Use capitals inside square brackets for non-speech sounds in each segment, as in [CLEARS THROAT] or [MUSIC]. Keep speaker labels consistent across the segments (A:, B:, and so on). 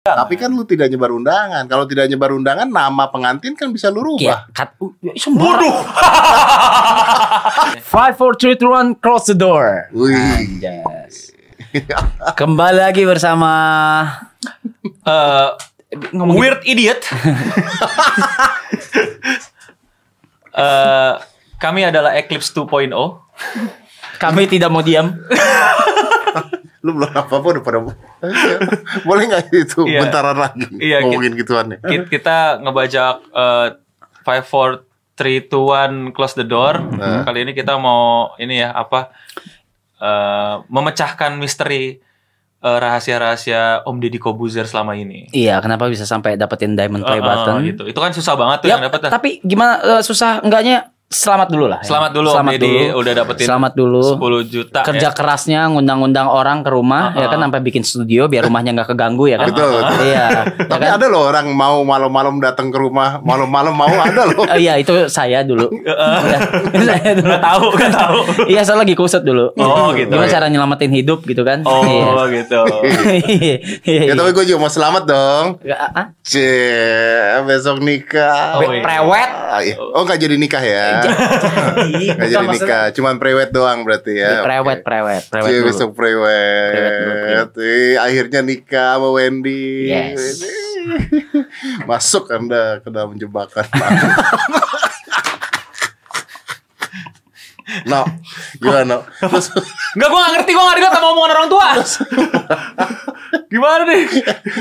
A: Tapi kan lu tidak nyebar undangan. Kalau tidak nyebar undangan, nama pengantin kan bisa lu rubah.
B: Kayak kat uh, ya, sembarang. Five, four, three, two, one, cross the
C: Iya.
B: door.
A: Wih.
B: Anjas. Kembali lagi bersama
C: Eh, weird idiot. [LAUGHS] Eh, kami adalah Eclipse oh. 2.0.
B: kami tidak mau diam.
A: Lu belum apa-apa udah pada [LAUGHS] Boleh nggak itu
C: Iya.
A: bentaran lagi
C: Iya,
A: ngomongin ya. gituannya.
C: Ki- Kita ngebajak eh, five, four, three, two, one, close the door. Kali ini kita mau ini ya apa? eh, memecahkan misteri eh, rahasia-rahasia Om Deddy Kobuzer selama ini.
B: Iya, kenapa bisa sampai dapetin diamond play
C: Eh, eh,
B: button?
C: gitu. Itu kan susah banget tuh
B: Ya,
C: yang dapat.
B: tapi gimana eh, susah enggaknya selamat dulu lah. ya.
C: Selamat dulu
B: selamat
C: Om Deddy
B: dulu.
C: udah dapetin
B: Selamat dulu.
C: 10 juta. ya.
B: Kerja kerasnya ngundang-undang orang ke rumah ya kan sampai bikin studio biar rumahnya nggak keganggu ya kan.
A: Betul, betul.
B: Iya. ya
A: Tapi
B: kan?
A: ada loh orang mau malam-malam datang ke rumah, malam-malam mau ada loh.
C: [LAUGHS]
B: Oh, iya itu saya dulu. Iya, itu saya dulu.
C: Nggak tahu, nggak tahu.
B: [LAUGHS] Iya saya lagi kusut dulu.
C: Oh, gitu.
B: Gimana
C: Iya.
B: cara nyelamatin hidup gitu kan?
C: Oh gitu.
B: Iya. Iya.
A: Ya
B: iya.
A: tapi gue juga mau selamat dong.
B: Ah, ah.
A: Cie, besok nikah.
C: Oh,
A: Oh,
C: iya.
B: Prewet.
A: iya. oh nggak jadi nikah ya?
B: Iya,
A: Nggak jadi nikah, cuman prewed doang berarti ya.
C: Iya,
A: Oke.
B: Prewet, prewet, prewet.
A: Cie,
B: dulu.
A: Iya, besok prewed.
B: Prewed dulu,
A: Ih, akhirnya nikah sama Wendy.
B: Yes.
A: Masuk Anda ke dalam
C: [LAUGHS]
A: jebakan. no, gimana? No? Terus,
C: Enggak, gue gak ngerti, gue gak relate sama omongan orang
A: [LAUGHS]
C: tua. Gimana nih?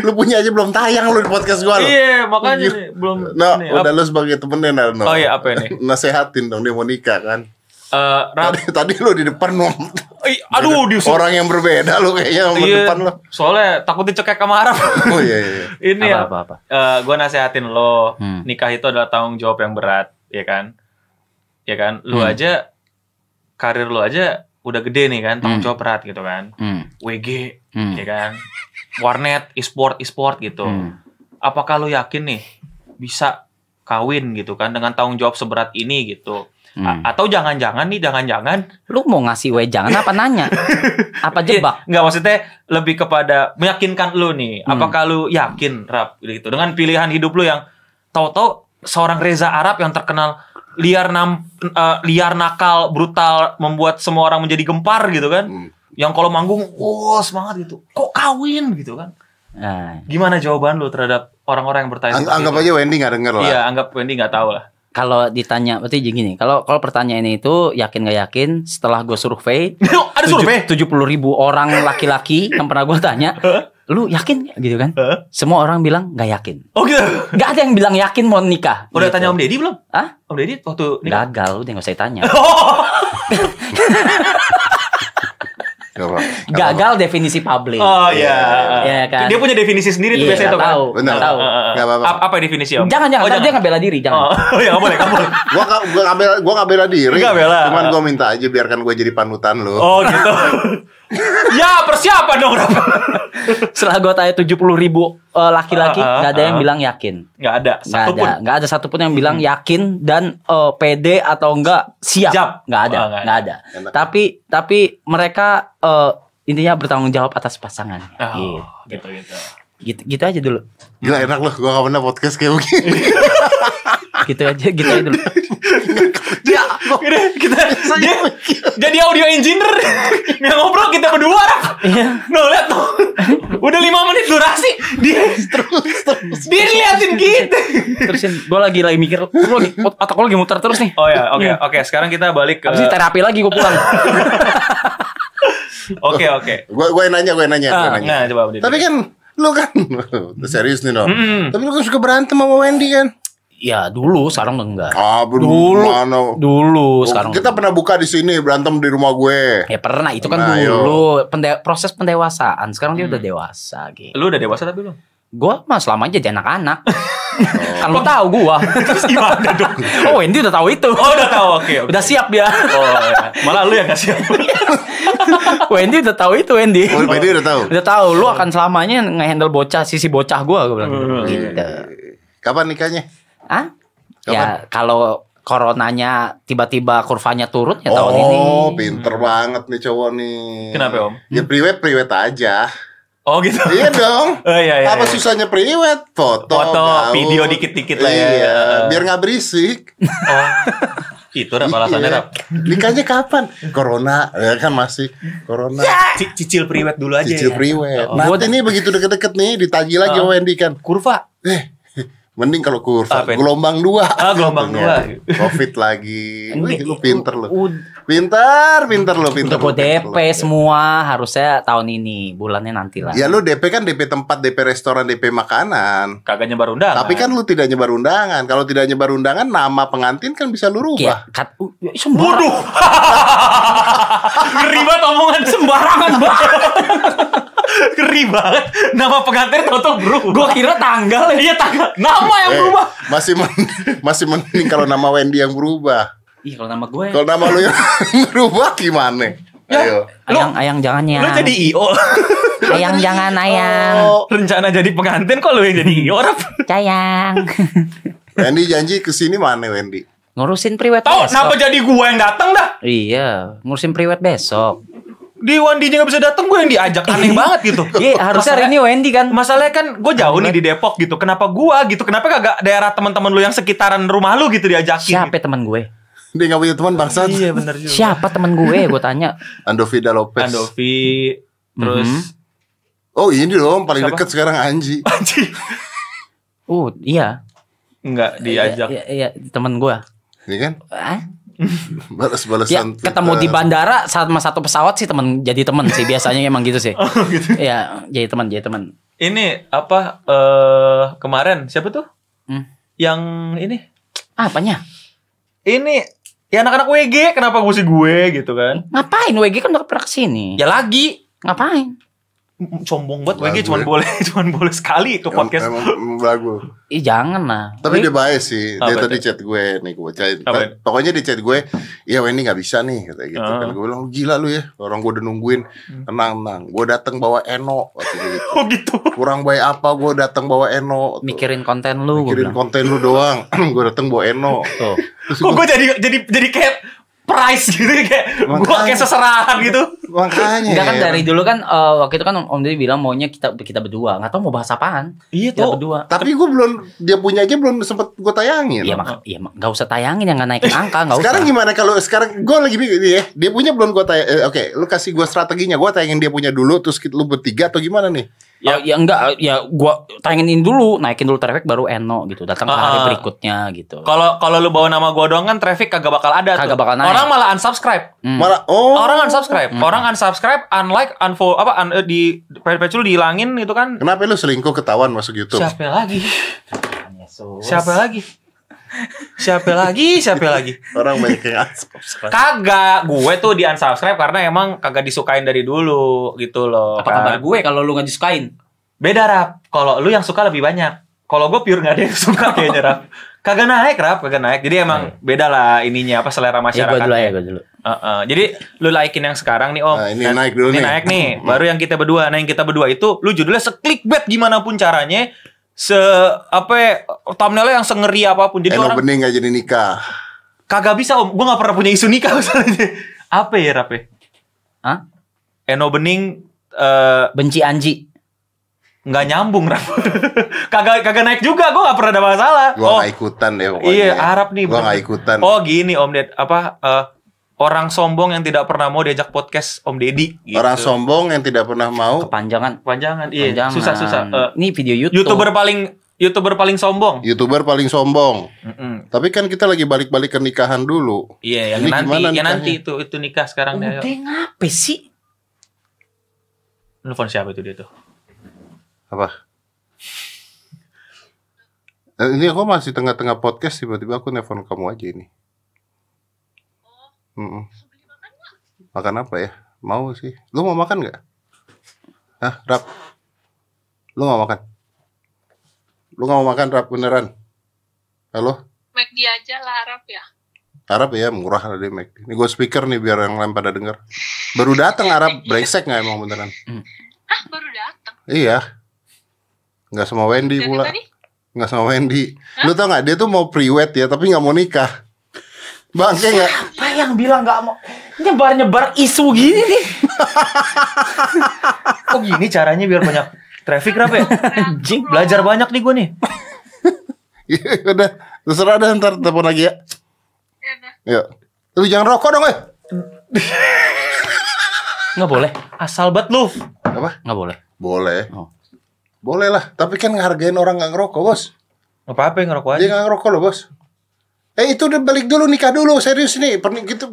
A: lu punya aja belum tayang lu di podcast gua lu.
C: Iya, makanya nih, belum.
A: No,
C: nih,
A: udah
C: ap-
A: lu sebagai temennya Narno.
C: Oh iya, apa ini?
A: Nasehatin dong dia mau nikah kan.
C: Eh, Ram,
A: Tadi, tadi lu di depan ngomong
C: Ih, aduh, Oh, di
A: orang yang berbeda lu kayaknya sama
C: Iya,
A: depan lu.
C: Soalnya takut dicekek sama Arab. [LAUGHS]
A: Oh iya iya.
C: Ini
B: Apa,
C: ya.
B: apa, apa?
C: gue nasehatin lo,
B: Hmm.
C: nikah itu adalah tanggung jawab yang berat, ya kan? Ya
B: Hmm.
C: kan? Lu aja karir lu aja udah gede nih kan,
B: Hmm.
C: tanggung jawab berat gitu kan.
B: Hmm.
C: WG,
B: Hmm.
C: ya kan? Warnet, e-sport, e-sport gitu.
B: Hmm.
C: Apakah lu yakin nih bisa kawin gitu kan dengan tanggung jawab seberat ini gitu? A-
B: Hmm.
C: atau jangan-jangan nih, jangan-jangan
B: Lu mau ngasih wejangan apa nanya?
C: [LAUGHS]
B: apa jebak?
C: Enggak Iya, maksudnya lebih kepada meyakinkan lu nih.
B: Hmm.
C: Apakah lu yakin rap gitu dengan pilihan hidup lu yang tahu-tahu seorang Reza Arab yang terkenal liar nam eh, liar nakal brutal membuat semua orang menjadi gempar gitu kan.
A: Hmm.
C: Yang kalau manggung wow semangat gitu. Kok kawin gitu kan.
B: Nah,
C: Gimana jawaban lu terhadap orang-orang yang bertanya
A: Ang-
C: seperti
A: anggap
C: itu?
A: aja Wendy nggak denger lah.
C: Iya, anggap Wendy nggak tahu lah.
B: kalau ditanya berarti gini, kalau kalau pertanyaan itu yakin gak yakin setelah gue survei
C: Ada survei.
B: tujuh puluh ribu orang
C: [LAUGHS]
B: laki-laki yang pernah gue tanya, lu yakin gitu kan? Semua orang bilang nggak yakin,
C: Oh gitu.
B: nggak ada yang bilang yakin mau nikah. Gitu.
C: Udah tanya Om Deddy belum?
B: Hah?
C: Om Deddy waktu nikah.
B: Gagal, udah nggak usah
C: [LAUGHS]
B: ditanya.
A: Nggak apa-apa. Nggak apa-apa.
B: Gagal definisi publik.
C: Oh iya.
B: Iya kan?
C: Dia punya definisi sendiri
B: Iya,
C: tuh biasanya tuh
B: nggak
C: kan.
B: tahu.
A: Benar.
B: Nggak tahu.
A: Nggak apa-apa.
C: Ap- Apa definisi om?
B: Jangan jangan,
C: Oh,
B: ntar dia nggak bela diri, jangan.
C: Oh, [LAUGHS] ya nggak boleh, nggak boleh.
A: Gua nggak gua nggak bela gua nggak bela diri.
C: Nggak bela.
A: Cuman gua minta aja biarkan gua jadi panutan lu.
C: Oh
B: [LAUGHS]
C: gitu. ya persiapan dong Rap.
B: Setelah gue tanya tujuh puluh ribu eh, laki-laki,
C: Ah, ah,
B: nggak ada yang
C: ah.
B: bilang yakin.
C: Nggak ada
B: Nggak
C: satu
B: ada,
C: pun.
B: nggak ada satupun
C: Hmm.
B: yang bilang yakin dan eh, pede atau enggak siap.
C: Siap.
B: Nggak ada,
C: Oh, nggak ada.
B: nggak ada.
A: Enak.
B: Tapi tapi mereka eh, intinya bertanggung jawab atas pasangan.
C: Oh, gitu gitu.
B: Gitu, gitu aja dulu.
A: Gila enak lu. Gua nggak pernah podcast kayak begini.
B: Gitu aja, gitu aja
C: [LAUGHS]
B: dulu.
C: Ya, udah, kita dia, jadi audio engineer [LAUGHS] yang ngobrol kita berdua. Rap.
B: Iya.
C: Nuh lihat tuh. Udah lima menit durasi dia terus terus. Dia gitu. liatin kita.
B: Terusin, gue lagi lagi mikir, lu lagi, otak lu lagi muter terus nih.
C: Oh ya,
B: Iya.
C: oke oke. Sekarang kita balik ke.
B: Habis ini terapi lagi gue pulang. [LAUGHS]
C: Oke oke.
A: Gua gua yang nanya, gua yang nanya, gua yang nanya.
C: Nah coba Om Deddy.
A: Tapi kan lu kan [LAUGHS] serius nih dong.
C: Mm-mm.
A: Tapi lu kan suka berantem sama Wendy kan?
B: ya dulu, sekarang enggak.
A: Ah, belum
B: Dulu.
A: mana?
C: Oh.
B: Dulu, sekarang.
A: Kita pernah buka di sini berantem di rumah gue.
B: [LAUGHS] Ya pernah, itu kan
A: Pernah,
B: dulu Pende- proses pendewasaan. Sekarang
C: Hmm.
B: dia udah dewasa
A: kan-
B: gitu.
C: Lu udah dewasa tapi belum?
B: Gua mah selama aja jadi anak-anak.
A: Oh.
B: kan lu tahu
A: [LAUGHS]
B: gua. Terus gimana dong? Oh, Wendy udah tahu itu.
C: Oh udah tahu oke. oke.
B: Udah siap dia. [LAUGHS]
C: Oh iya. Malah lu yang gak siap.
B: Wendy udah tahu itu Wendy.
A: Oh, Wendy udah tahu.
B: Udah tahu lu akan selamanya ngehandle bocah sisi bocah gua
A: Hmm.
B: gua bilang.
A: Iya,
B: Gitu.
A: Kapan nikahnya?
B: Hah?
A: Kapan?
B: Ya kalau coronanya tiba-tiba kurvanya turun ya tahun ini.
A: oh, pinter banget nih cowok nih.
C: Kenapa, Om?
A: Ya priwet priwet aja.
C: Oh gitu.
A: Iya dong.
C: Oh, iya, iya,
A: Apa
C: iya.
A: susahnya priwet? Foto,
C: Foto,
A: gaul.
C: video dikit-dikit lah ya.
A: Iya, biar nggak berisik.
C: Oh. Itu rap alasannya
A: Iya.
C: rap.
A: Nikahnya kapan? Corona, ya kan masih corona.
C: C- cicil priwet dulu aja.
A: Cicil
C: ya.
A: priwet.
C: Oh.
A: Nanti
B: Buat-
A: nih begitu deket-deket nih ditagi lagi sama Wendy kan.
B: Kurva.
A: Eh, mending kalau kurva
C: Apa ini?
A: gelombang dua.
C: Ah, gelombang
A: Tentunya.
C: dua.
A: Covid lagi. Wih,
B: Ini-
A: lu pinter lu.
B: ud-
A: Pinter, pinter lu, pinter.
B: Udah gue
A: lu, pinter
B: DP
A: lu.
B: semua harusnya tahun ini bulannya nanti lah.
A: Ya lu DP kan DP tempat, DP restoran, DP makanan.
C: Kagak nyebar undangan.
A: Tapi kan lu tidak nyebar undangan. Kalau tidak nyebar undangan, nama pengantin kan bisa lu rubah.
B: Kayak kat, uh, sembarang
C: Waduh. Ngeri banget omongan sembarangan banget. [LAUGHS] Ngeri banget. Nama pengantin toto bro.
B: Gue kira tanggal ya.
C: Iya tanggal. Nama yang
A: Eh,
C: berubah.
A: masih men- [LAUGHS] masih mending kalau nama Wendy yang berubah.
B: Ih kalau nama ya. gue.
A: Kalau nama lu yang [LAUGHS] berubah gimana?
C: Ya.
A: Ayo.
B: Ayang, ayang jangan ya.
C: Lu jadi IO.
B: [LAUGHS] Ayang jangan ayang.
A: Oh,
C: [LAUGHS] Rencana jadi pengantin kok lu yang jadi IO rap.
B: Sayang.
A: Wendy janji ke sini mana Wendy?
B: [LAUGHS] ngurusin priwet
C: Tahu
B: besok.
C: kenapa jadi gua yang datang dah?
B: Iya, ngurusin priwet besok.
C: Di Wandinya nggak bisa datang, gua yang diajak aneh banget gitu.
B: Iya, harusnya hari ini Wendy kan.
C: Masalahnya kan gue jauh nih di Depok gitu. Kenapa gua gitu? Kenapa kagak daerah teman-teman lu yang sekitaran rumah lu gitu diajakin?
B: Siapa teman gue?
A: Dia nggak punya teman bangsa.
C: Iya bener juga.
B: Siapa teman gue? Gue tanya.
A: Andovida Lopez.
C: Andovi,
B: Mhm.
C: terus
A: Oh ini dong paling
C: Siapa?
A: deket sekarang Anji.
C: Panji.
B: Uh, iya.
C: Enggak diajak.
B: Iya, iya, iya, teman gue.
A: Ini kan
B: Hah? Ya,
A: balas-balasan.
B: ketemu di bandara sama satu pesawat sih teman jadi teman sih biasanya emang gitu sih. Iya, jadi teman, jadi teman.
C: Ini apa eh kemarin siapa tuh?
B: Hmm.
C: Yang ini.
B: Ah, apanya?
C: Ini ya anak-anak WG kenapa gue sih gue gitu kan?
B: Ngapain WG kan udah pernah kesini?
C: Ya lagi
B: Ngapain?
C: Mm, sombong banget
A: Lagu
C: WG cuman
A: ya.
C: boleh [LAUGHS] cuman boleh sekali
A: Em-
C: ke podcast. [LAUGHS]
A: Emang, emang bagus.
B: Ih, jangan lah.
A: Tapi
B: Wih,
A: dia baik sih. Dia
C: Apa
A: tadi
C: itu?
A: chat gue nih gue bacain.
C: Apa itu?
A: Pokoknya di chat gue, "Iya Wendy nggak bisa nih," kata gitu.
C: Ah.
A: Kan gue bilang, "Gila lu ya, orang gue udah nungguin."
B: Hmm.
A: Tenang, tenang. Gue datang bawa Eno waktu itu gitu.
C: Oh gitu.
A: Kurang baik apa gue datang bawa Eno. Tuh.
B: mikirin konten lu gua
A: Mikirin
B: bilang.
A: konten lu doang. [CLEARS THROAT] gue datang bawa Eno.
B: Tuh.
C: Kok gue jadi jadi jadi kayak price gitu kayak gue
A: Makanya.
C: kayak seserahan gitu.
A: Makanya.
B: Enggak kan
C: iya,
A: ya.
B: dari dulu kan eh, waktu itu kan Om Deddy bilang maunya kita kita berdua, nggak tahu mau bahas apaan.
C: Iya
B: Kita berdua.
A: Tapi gue belum dia punya aja belum sempet gue tayangin.
B: Iya mak, iya mak, nggak usah tayangin yang nggak naik angka, nggak usah.
A: sekarang gimana kalau sekarang gue lagi bingung nih ya. Dia punya belum gue tayang. eh, Oke, lu kasih gue strateginya. Gue tayangin dia punya dulu terus kita- lu bertiga atau gimana nih?
B: Ya, ya enggak, ya gua tayangin dulu, naikin dulu traffic baru Eno gitu, datang ke hari
C: Ah.
B: berikutnya gitu.
C: Kalau kalau lu bawa nama gua doang kan traffic kagak bakal ada
B: Kagak
C: tuh.
B: bakal naik.
C: Orang malah unsubscribe.
B: Hmm.
A: Malah oh.
C: Orang unsubscribe. Orang unsubscribe, unlike, unfollow apa un, eh, di page lu dihilangin itu kan.
A: Kenapa lu selingkuh ketahuan masuk YouTube?
C: Siapa lagi? Siapa lagi? Siapa lagi? Siapa lagi?
A: Orang banyak yang asal.
C: Kagak, gue tuh di unsubscribe karena emang kagak disukain dari dulu gitu loh.
B: Apa
C: kan.
B: kabar gue kalau lu nggak disukain?
C: Beda rap. Kalau lu yang suka lebih banyak. Kalau gue pure nggak ada yang suka kayaknya rap. Kagak naik rap, kagak naik. Jadi emang beda lah ininya apa selera
B: Ya gue
C: masyarakat.
B: dulu ya, gue dulu.
C: Heeh. Jadi lu naikin yang sekarang nih Om.
A: Nah, ini naik dulu
C: ini
A: nih.
C: naik
A: [LAUGHS]
C: nih. Baru yang kita berdua. Nah, yang kita berdua itu lu judulnya se-clickbait gimana pun caranya. Se apa ya, thumbnailnya yang sengeri apapun. [LAUGHS] Jadi
A: Eno
C: orang
A: bening gak jadi nikah.
C: kagak bisa Om. Gua nggak pernah punya isu nikah [LAUGHS] misalnya. apa ya Rape?
B: Hah?
C: Eno Bening eh,
B: Benci Anji.
C: nggak nyambung Rap. [LAUGHS] kagak kagak naik juga. Gua nggak pernah ada masalah.
A: Gua
C: Oh,
A: gak ikutan ya pokoknya.
C: Iya, Arab nih.
A: Gua
C: bener.
A: gak ikutan.
C: Oh, gini Om Ded, apa eh, orang sombong yang tidak pernah mau diajak podcast Om Deddy gitu.
A: Orang sombong yang tidak pernah mau
B: Kepanjangan.
C: Panjangan, Oh. iya.
B: Kepanjangan.
C: Susah susah. Eh,
B: Ini video YouTube.
C: YouTuber paling YouTuber paling sombong.
A: YouTuber paling sombong.
C: Mm-mm.
A: Tapi kan kita lagi balik-balik ke nikahan dulu.
C: Iya, yang
A: Ini
C: nanti,
A: gimana
C: yang
A: nikahnya?
C: nanti itu itu nikah sekarang deh.
B: Udah Oh, ngapain sih?
C: Nelfon siapa itu dia tuh?
A: Apa? Eh, Ini aku masih tengah-tengah podcast tiba-tiba aku nelpon kamu aja ini.
D: Oh.
A: Mm-mm. Makan apa ya? Mau sih. Lu mau makan nggak? Hah, Rap? Lu nggak mau makan? Lu nggak mau makan, Rap? Beneran? Halo?
D: McD aja lah Arab ya.
A: Arab ya, murah lah dia, Mac. Ini gue speaker nih biar yang lain pada denger. Baru datang Arab, brengsek nggak emang beneran?
D: Ah baru datang.
A: Iya. Nggak sama Wendy
D: Dari
A: pula.
D: tadi
A: nggak sama Wendy. Lu tau nggak dia tuh mau priwet ya tapi nggak mau nikah. Bangke nggak? [LAUGHS]
B: Apa yang bilang nggak mau nyebar-nyebar isu gini nih?
C: Oh gini caranya biar banyak traffic rap ya?
B: Anjing.
C: Belajar banyak nih gue nih.
A: Iya, Udah, terserah dah ntar telepon lagi ya.
D: Ya udah.
A: Yuk. Lu jangan rokok dong, eh.
B: Nggak boleh.
C: Asal banget lu.
A: Apa?
B: Nggak boleh.
A: Boleh.
B: Oh.
A: Boleh lah, tapi kan ngehargain orang nggak ngerokok, Bos.
C: Gak apa-apa ngerokok aja.
A: Dia nggak ngerokok loh, Bos. Eh itu udah balik dulu nikah dulu serius nih Perni gitu,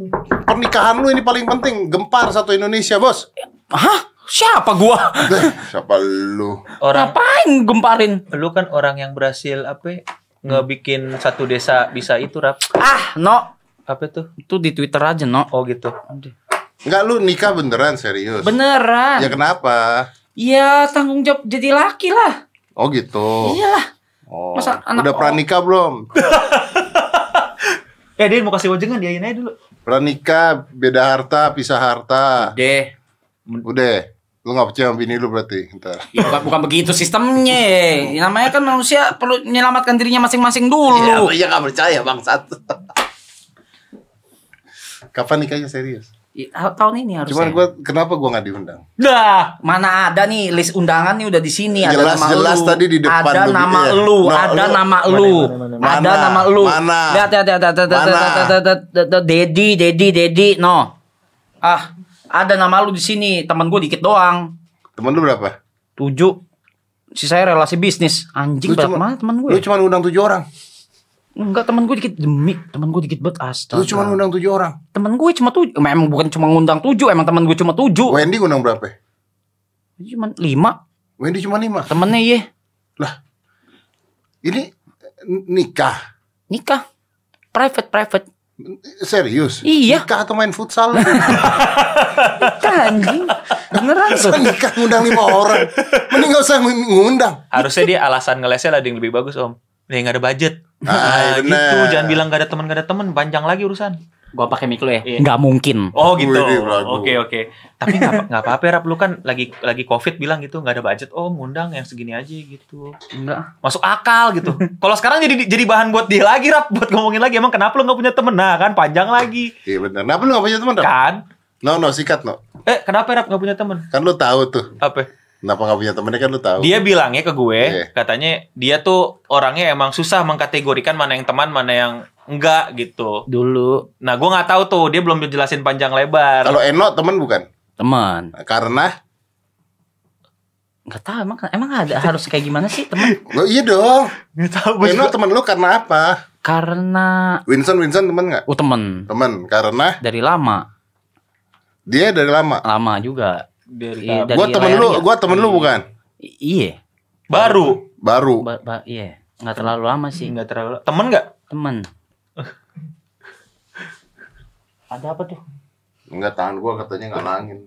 A: pernikahan lu ini paling penting gempar satu Indonesia bos
B: Hah? Siapa gua?
A: Dah, siapa lu
C: Orang
B: Ngapain gemparin?
C: lu kan orang yang berhasil apa ya, ngebikin satu desa bisa itu rap.
B: Ah, no.
C: Apa tuh?
B: Itu di Twitter aja, no.
C: Oh gitu.
A: Enggak lu nikah beneran serius ya
B: Beneran.
A: kenapa
B: Iya, tanggung jawab jadi laki lah.
A: oh gitu
B: Iyalah.
A: oh.
B: Masa anak
A: udah pranikah
B: [LAUGHS]
A: belum
C: Eh dia mau kasih wajengan diain aja dulu.
A: Pranikah, beda harta, pisah harta.
B: Deh.
A: Udah, lu gak percaya sama bini lu berarti. Ntar.
B: Ya, bukan, bukan begitu sistemnya. Namanya kan manusia perlu menyelamatkan dirinya masing-masing dulu.
A: iya gak percaya bang satu. Kapan nikahnya serius?
B: Ya, tahun ini harusnya.
A: Cuman gua kenapa gua gak diundang?
B: Dah, Nah, mana ada nih list undangan nih udah di sini ada
A: Jelas-
B: nama
A: jelas
B: lu.
A: tadi di depan
B: ada
A: lu,
B: nama
A: iya.
B: lu,
A: Nah,
B: ada
A: lu-
B: nama lu.
A: mana, mana?
B: Ada nama lu.
A: Mana?
B: Lihat, lihat, lihat, lihat, lihat,
A: Mana?
B: lihat, lihat, lihat, lihat, lihat, Dedi, Dedi, Dedi, no. Ah, ada nama lu di sini. Temen gue dikit doang.
A: Temen lu berapa?
B: Tujuh. Si saya relasi bisnis.
A: Lu
B: Anjing banget
A: cuma-
B: mana temen gue.
A: Lu cuma undang tujuh orang.
B: Enggak, temen gue dikit demi. Temen gue dikit banget. Astaga.
A: Lu cuma undang tujuh orang.
B: Temen gue cuma tujuh. Emang bukan cuma ngundang tujuh, emang temen gue cuma tujuh. Iya,
A: Wendy undang berapa?
B: Cuman lima.
A: Wendy cuma lima.
B: Temennya iya.
A: Lah, ini eh, nikah.
B: Nikah. Private, private.
A: Serius?
B: Iya.
A: Nikah atau main futsal? [LAUGHS]
B: Kan, anjing beneran
A: Masa
B: tuh
A: Kan nikah ngundang lima orang. Mending gak usah ngundang.
C: Harusnya dia alasan ngelesnya lah ada yang lebih bagus om. Nih nggak ada budget.
A: Ah,
C: gitu.
A: bener.
C: Jangan bilang gak ada teman gak ada teman. Panjang lagi urusan.
B: gua pakai mic lu ya
C: Iya.
B: nggak mungkin
C: Oh gitu.
A: Wih, ragu.
C: Oke oke. Tapi nggak apa- nggak apa-apa rap lu kan lagi lagi covid bilang gitu nggak ada budget. Oh ngundang yang segini aja gitu.
B: enggak
C: Masuk akal
A: [LAUGHS]
C: gitu. Kalau sekarang jadi jadi bahan buat dia lagi rap buat ngomongin lagi. Emang kenapa lu nggak punya temen? Nah kan panjang lagi
A: Iya benar. Kenapa lu gak punya teman? Rap?
C: kan.
A: No no sikat no.
C: Eh kenapa rap nggak punya temen?
A: Kan lu tahu tuh.
C: Apa?
A: Kenapa gak punya temennya kan lu tahu.
C: Dia bilangnya ke gue,
A: Iya.
C: katanya dia tuh orangnya emang susah mengkategorikan mana yang teman, mana yang enggak gitu.
B: dulu
C: Nah, gue nggak tahu tuh, dia belum jelasin panjang lebar.
A: Kalau Eno teman bukan?
B: teman
A: Karena
B: nggak tahu emang emang ada harus kayak gimana sih teman
A: lo iya dong.
C: [LAUGHS] Nggak tahu gue
A: Eno
C: juga.
A: teman lu karena apa?
B: karena
A: Winston Winston teman nggak?
B: oh temen
A: Teman karena
B: dari lama
A: dia dari lama.
B: lama juga
C: Dari
B: Iya,
C: kabar.
B: Dari
A: Gua temen
B: layar
A: lu,
B: ya?
A: gua temen lu bukan?
B: I- iya
C: Baru.
A: Baru.
B: Ba- ba- iya nggak terlalu lama sih
C: Nggak terlalu. Temen nggak?
B: teman ada apa tuh
A: Enggak tangan gua katanya ngalangin.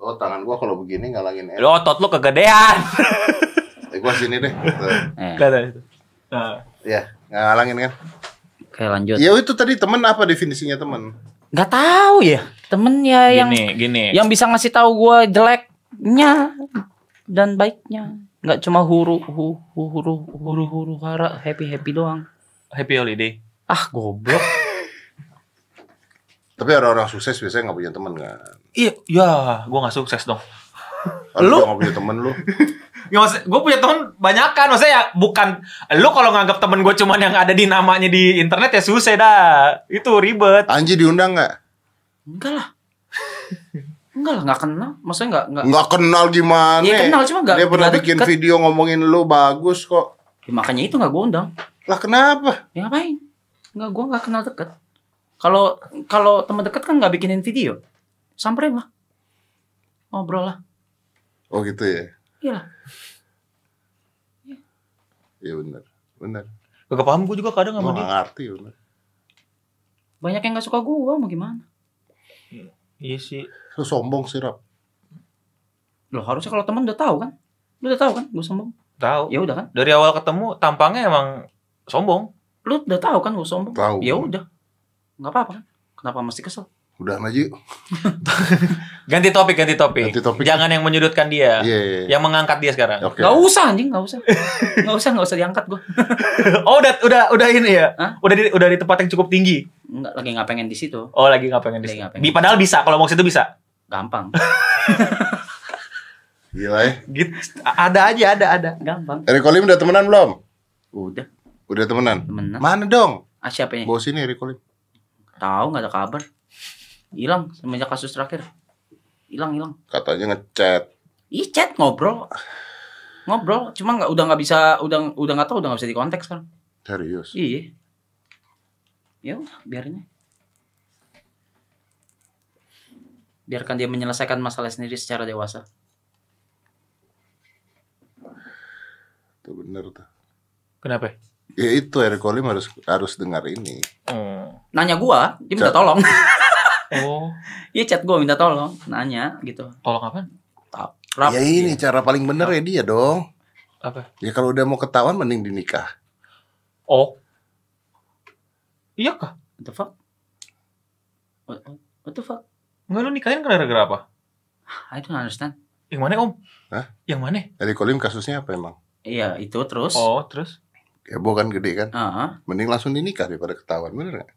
A: Oh tangan gua kalau begini ngalangin Eno.
C: Lu otot lu kegedean. [LAUGHS]
A: Eh, gua sini deh. Tuh.
B: eh,
C: Kata itu. Nah,
A: Iya, ngalangin kan?
B: oke lanjut
C: Iya.
A: Ya itu tadi teman apa definisinya teman?
B: nggak tahu ya temen ya yang
C: gini, gini.
B: yang bisa ngasih tahu gue jeleknya dan baiknya nggak cuma huru hu, hu, huru huru huru hara happy happy doang
C: Happy holiday.
B: ah goblok
A: Tapi orang-orang sukses biasanya nggak punya teman kan?
C: Iya, ya, gue nggak sukses dong.
A: lu
C: Lu?
A: nggak punya temen lu?
C: Ya, gue punya temen banyak kan, maksudnya ya bukan lu kalau nganggap temen gue cuman yang ada di namanya di internet ya susah dah. Itu ribet.
A: Anji diundang nggak?
B: enggak lah enggak lah nggak kenal maksudnya nggak nggak
A: Nggak kenal gimana?
B: Iya, kenal, cuma nggak-
A: Dia pernah
B: nggak
A: bikin
B: deket.
A: video ngomongin lu bagus kok.
B: Ya, makanya itu nggak gue undang
A: Lah kenapa?
B: ya ngapain nggak gue nggak kenal deket kalau kalau teman deket kan nggak bikinin video samperin lah ngobrol lah
A: Oh gitu ya?
B: iya lah
A: Iya benar, benar.
C: Gak paham gue juga kadang
A: Gua
C: sama
A: nggak
C: dia.
A: ngerti bener.
B: banyak yang nggak suka gue mau gimana
C: Iya sih.
A: Lu sombong sih Rap.
B: Loh harusnya kalau teman udah tahu kan lu udah tahu kan gue sombong
C: Tahu.
B: ya udah kan
C: Dari awal ketemu tampangnya emang sombong.
B: lu udah tahu kan gue sombong
A: Tahu.
B: ya udah nggak apa-apa kan kenapa mesti kesel
A: Udah aja yuk.
C: Ganti topik, ganti topik.
A: Ganti topik.
C: Jangan yang menyudutkan dia.
A: Iya, iya, iya.
C: Yang mengangkat dia sekarang.
A: Oke.
B: Ya. Gak usah anjing, gak usah. Gak usah, gak usah diangkat gue.
C: oh, udah udah udah ini ya.
B: Hah?
C: Udah di udah di tempat yang cukup tinggi.
B: Enggak, lagi nggak pengen di situ.
C: Oh, lagi nggak pengen di
B: Lagi nggak pengen.
C: Di padahal bisa kalau mau ke situ bisa.
B: Gampang.
A: Gila ya.
C: Gitu. A- Ada aja, ada ada.
B: Gampang.
A: Eric Olim udah temenan belum?
B: Udah,
A: Udah temenan.
B: temenan.
A: Mana dong?
B: Ah, siapa ini?
A: Bawa sini Eric Olim.
B: Tahu nggak ada kabar. Hilang semenjak kasus terakhir. Hilang, hilang.
A: Katanya ngechat.
B: Ih, chat ngobrol. Ngobrol, cuma nggak udah nggak bisa udah udah nggak tahu udah nggak bisa dikontak sekarang.
A: Serius.
B: Iya. Ya udah, biarin. aja. Biarkan dia menyelesaikan masalah sendiri secara dewasa.
A: Itu bener tuh.
C: Kenapa?
A: Ya itu Eric Olim harus harus dengar ini.
C: Oh.
B: Nanya gua, dia minta
A: Chat.
B: tolong. [LAUGHS]
C: Oh,
B: Iya chat gua minta tolong, nanya gitu.
C: tolong apa?
B: Tau. Rap,
A: ya ini
B: Iya.
A: cara paling bener ya dia dong.
C: Apa?
A: Ya kalau udah mau ketahuan mending dinikah.
C: Oh. Iya kah?
B: What the fuck? What, what- what the fuck?
C: Enggak lu nikahin gara-gara apa?
B: I don't understand.
C: Yang mana, Om?
A: Hah?
C: Yang mana?
A: Eric Olim kasusnya apa emang?
B: Iya itu terus.
C: Oh, terus?
A: Heboh kan gede kan?
B: Ah,
A: Mending langsung dinikah daripada ketahuan bener gak?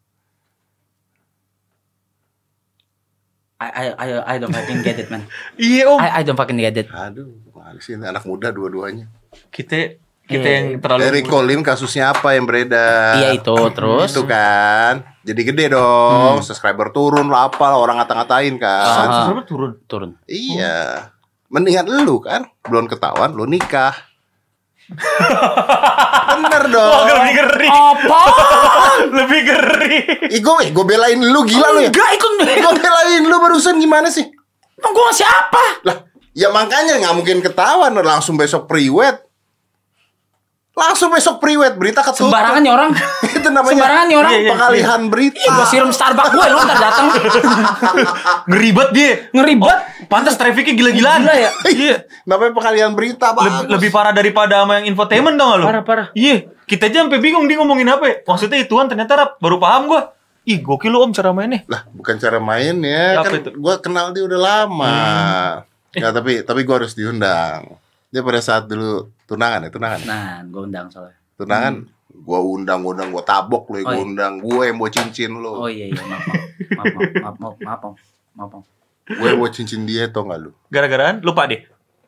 B: I, I I I don't fucking get it man.
C: Iya, Om.
B: I I don't fucking get it.
A: Aduh, manis ini anak muda dua-duanya.
C: Kita kita
B: Eh,
C: yang terlalu
A: Eric Olim kasusnya apa yang beredar? Hmm,
B: Iya itu terus. Hmm.
A: Itu kan. Jadi gede dong, subscriber turun lah apa lah, orang ngata-ngatain kan.
B: Ah.
C: Subscriber turun.
B: Turun.
A: Iya. Mendingan lu kan, belum ketahuan lu
B: [LAUGHS]
A: nikah. Bener
C: Oh,
A: dong.
C: lebih ngeri.
B: Apa?
C: lebih ngeri.
A: Ih, gue, gue belain lu gila lu ya.
B: Enggak ikut
A: Gue belain lu barusan gimana sih?
B: Emang gua siapa?
A: Lah, ya makanya nggak mungkin ketahuan langsung besok priwet. Langsung besok priwet berita ketutup.
B: Sembarangan nih orang.
A: [LAUGHS] Itu namanya Iya,
B: Sembarangan nih orang. iya.
A: pengalihan berita.
B: Ih, gua siram Starbucks gue lu ntar datang.
C: Ngeri banget dia. Oh,
B: Ngeribet.
C: Pantas trafficnya gila-gilaan.
B: Gila ya?
C: Iya.
A: namanya pengalihan berita,
C: Leb-
A: Bang.
C: lebih parah daripada sama yang infotainment dong lo.
B: Parah, parah.
C: Iya, kita aja sampai bingung dia ngomongin apa. Ya. Maksudnya ituan ternyata Rap, baru paham gua. Ih, gokil lu Om cara mainnya.
A: lah bukan cara main ya
C: Apa
A: kan
C: itu?
A: gue kenal dia udah lama
B: Hmm.
A: ya tapi tapi gue harus diundang dia pada saat dulu tunangan ya tunangan
B: Nah, gua undang soalnya.
A: tunangan gue undang gue undang gue tabok lu
B: Hmm. Oh,
A: gue
B: iya.
A: undang gue yang bawa cincin lu
B: Oh iya iya maaf maaf maaf maaf maaf maaf maaf. maaf.
A: gue yang bawa cincin dia tau gak lu
C: Gara-garaan lupa deh.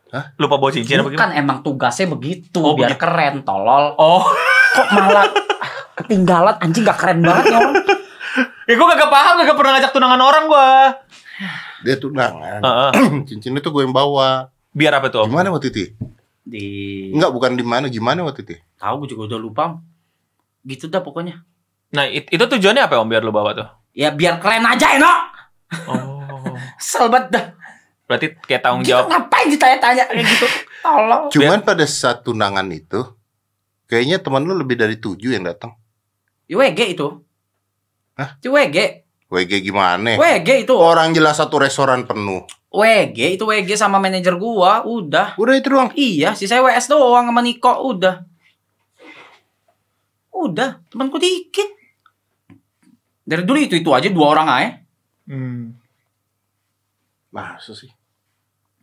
A: Hah?
C: Lupa bawa cincin apa gimana?
B: Bukan emang tugasnya begitu
C: Oh,
B: biar
C: begitu.
B: keren tolol.
C: Oh, [LAUGHS]
B: Kok malah ketinggalan anjing gak keren banget ya orang.
C: ya gua kagak paham, kagak pernah ngajak tunangan orang gua.
A: dia tunangan
B: Ah,
A: [CLEARS THROAT]
C: Heeh.
A: cincin itu gue yang bawa
C: Biar
B: Oh.
C: apa tuh Om?
A: gimana waktu itu ya?
B: Di
A: enggak bukan di mana gimana waktu itu ya?
B: tahu gue juga udah lupa. Om. Gitu dah pokoknya.
C: Nah, it- itu tujuannya apa Om biar lu bawa tuh?
B: Ya biar keren aja Eno.
C: Oh.
B: Selbat dah.
C: Berarti kayak tanggung
B: Gitu,
C: jawab.
B: ngapain ditanya-tanya kayak gitu. Tolong.
A: cuman pada saat tunangan itu kayaknya teman lu lebih dari tujuh yang datang
B: WG itu.
A: Hah?
B: Itu WG.
A: WG
C: Eh.
A: gimana
B: WG itu.
A: orang jelas satu restoran penuh
B: WG itu WG sama manajer gua udah.
A: udah itu doang
B: Iya, si saya WS doang sama Niko udah. Udah, temanku dikit. Dari dulu itu itu aja dua orang aja.
C: Hmm.
A: masa sih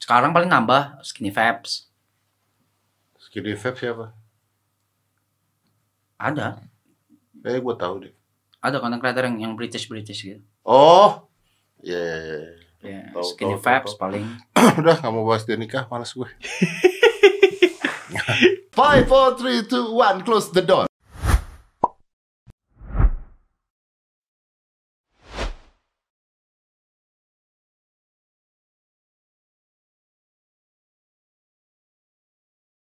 B: Sekarang paling nambah skinny vibes.
A: Skinny Vape siapa?
B: Ada,
A: Eh, gue tahu deh.
B: ada konten creator yang yang British British gitu.
A: Oh, ya. ya, ya.
B: Ya,
A: Tahu,
B: skinny
A: tahu, tahu,
B: vibes
A: tahu.
B: paling.
A: [CLEARS THROAT] Udah nggak mau bahas dia nikah, malas gue. Five, four, three, two, one, close the door.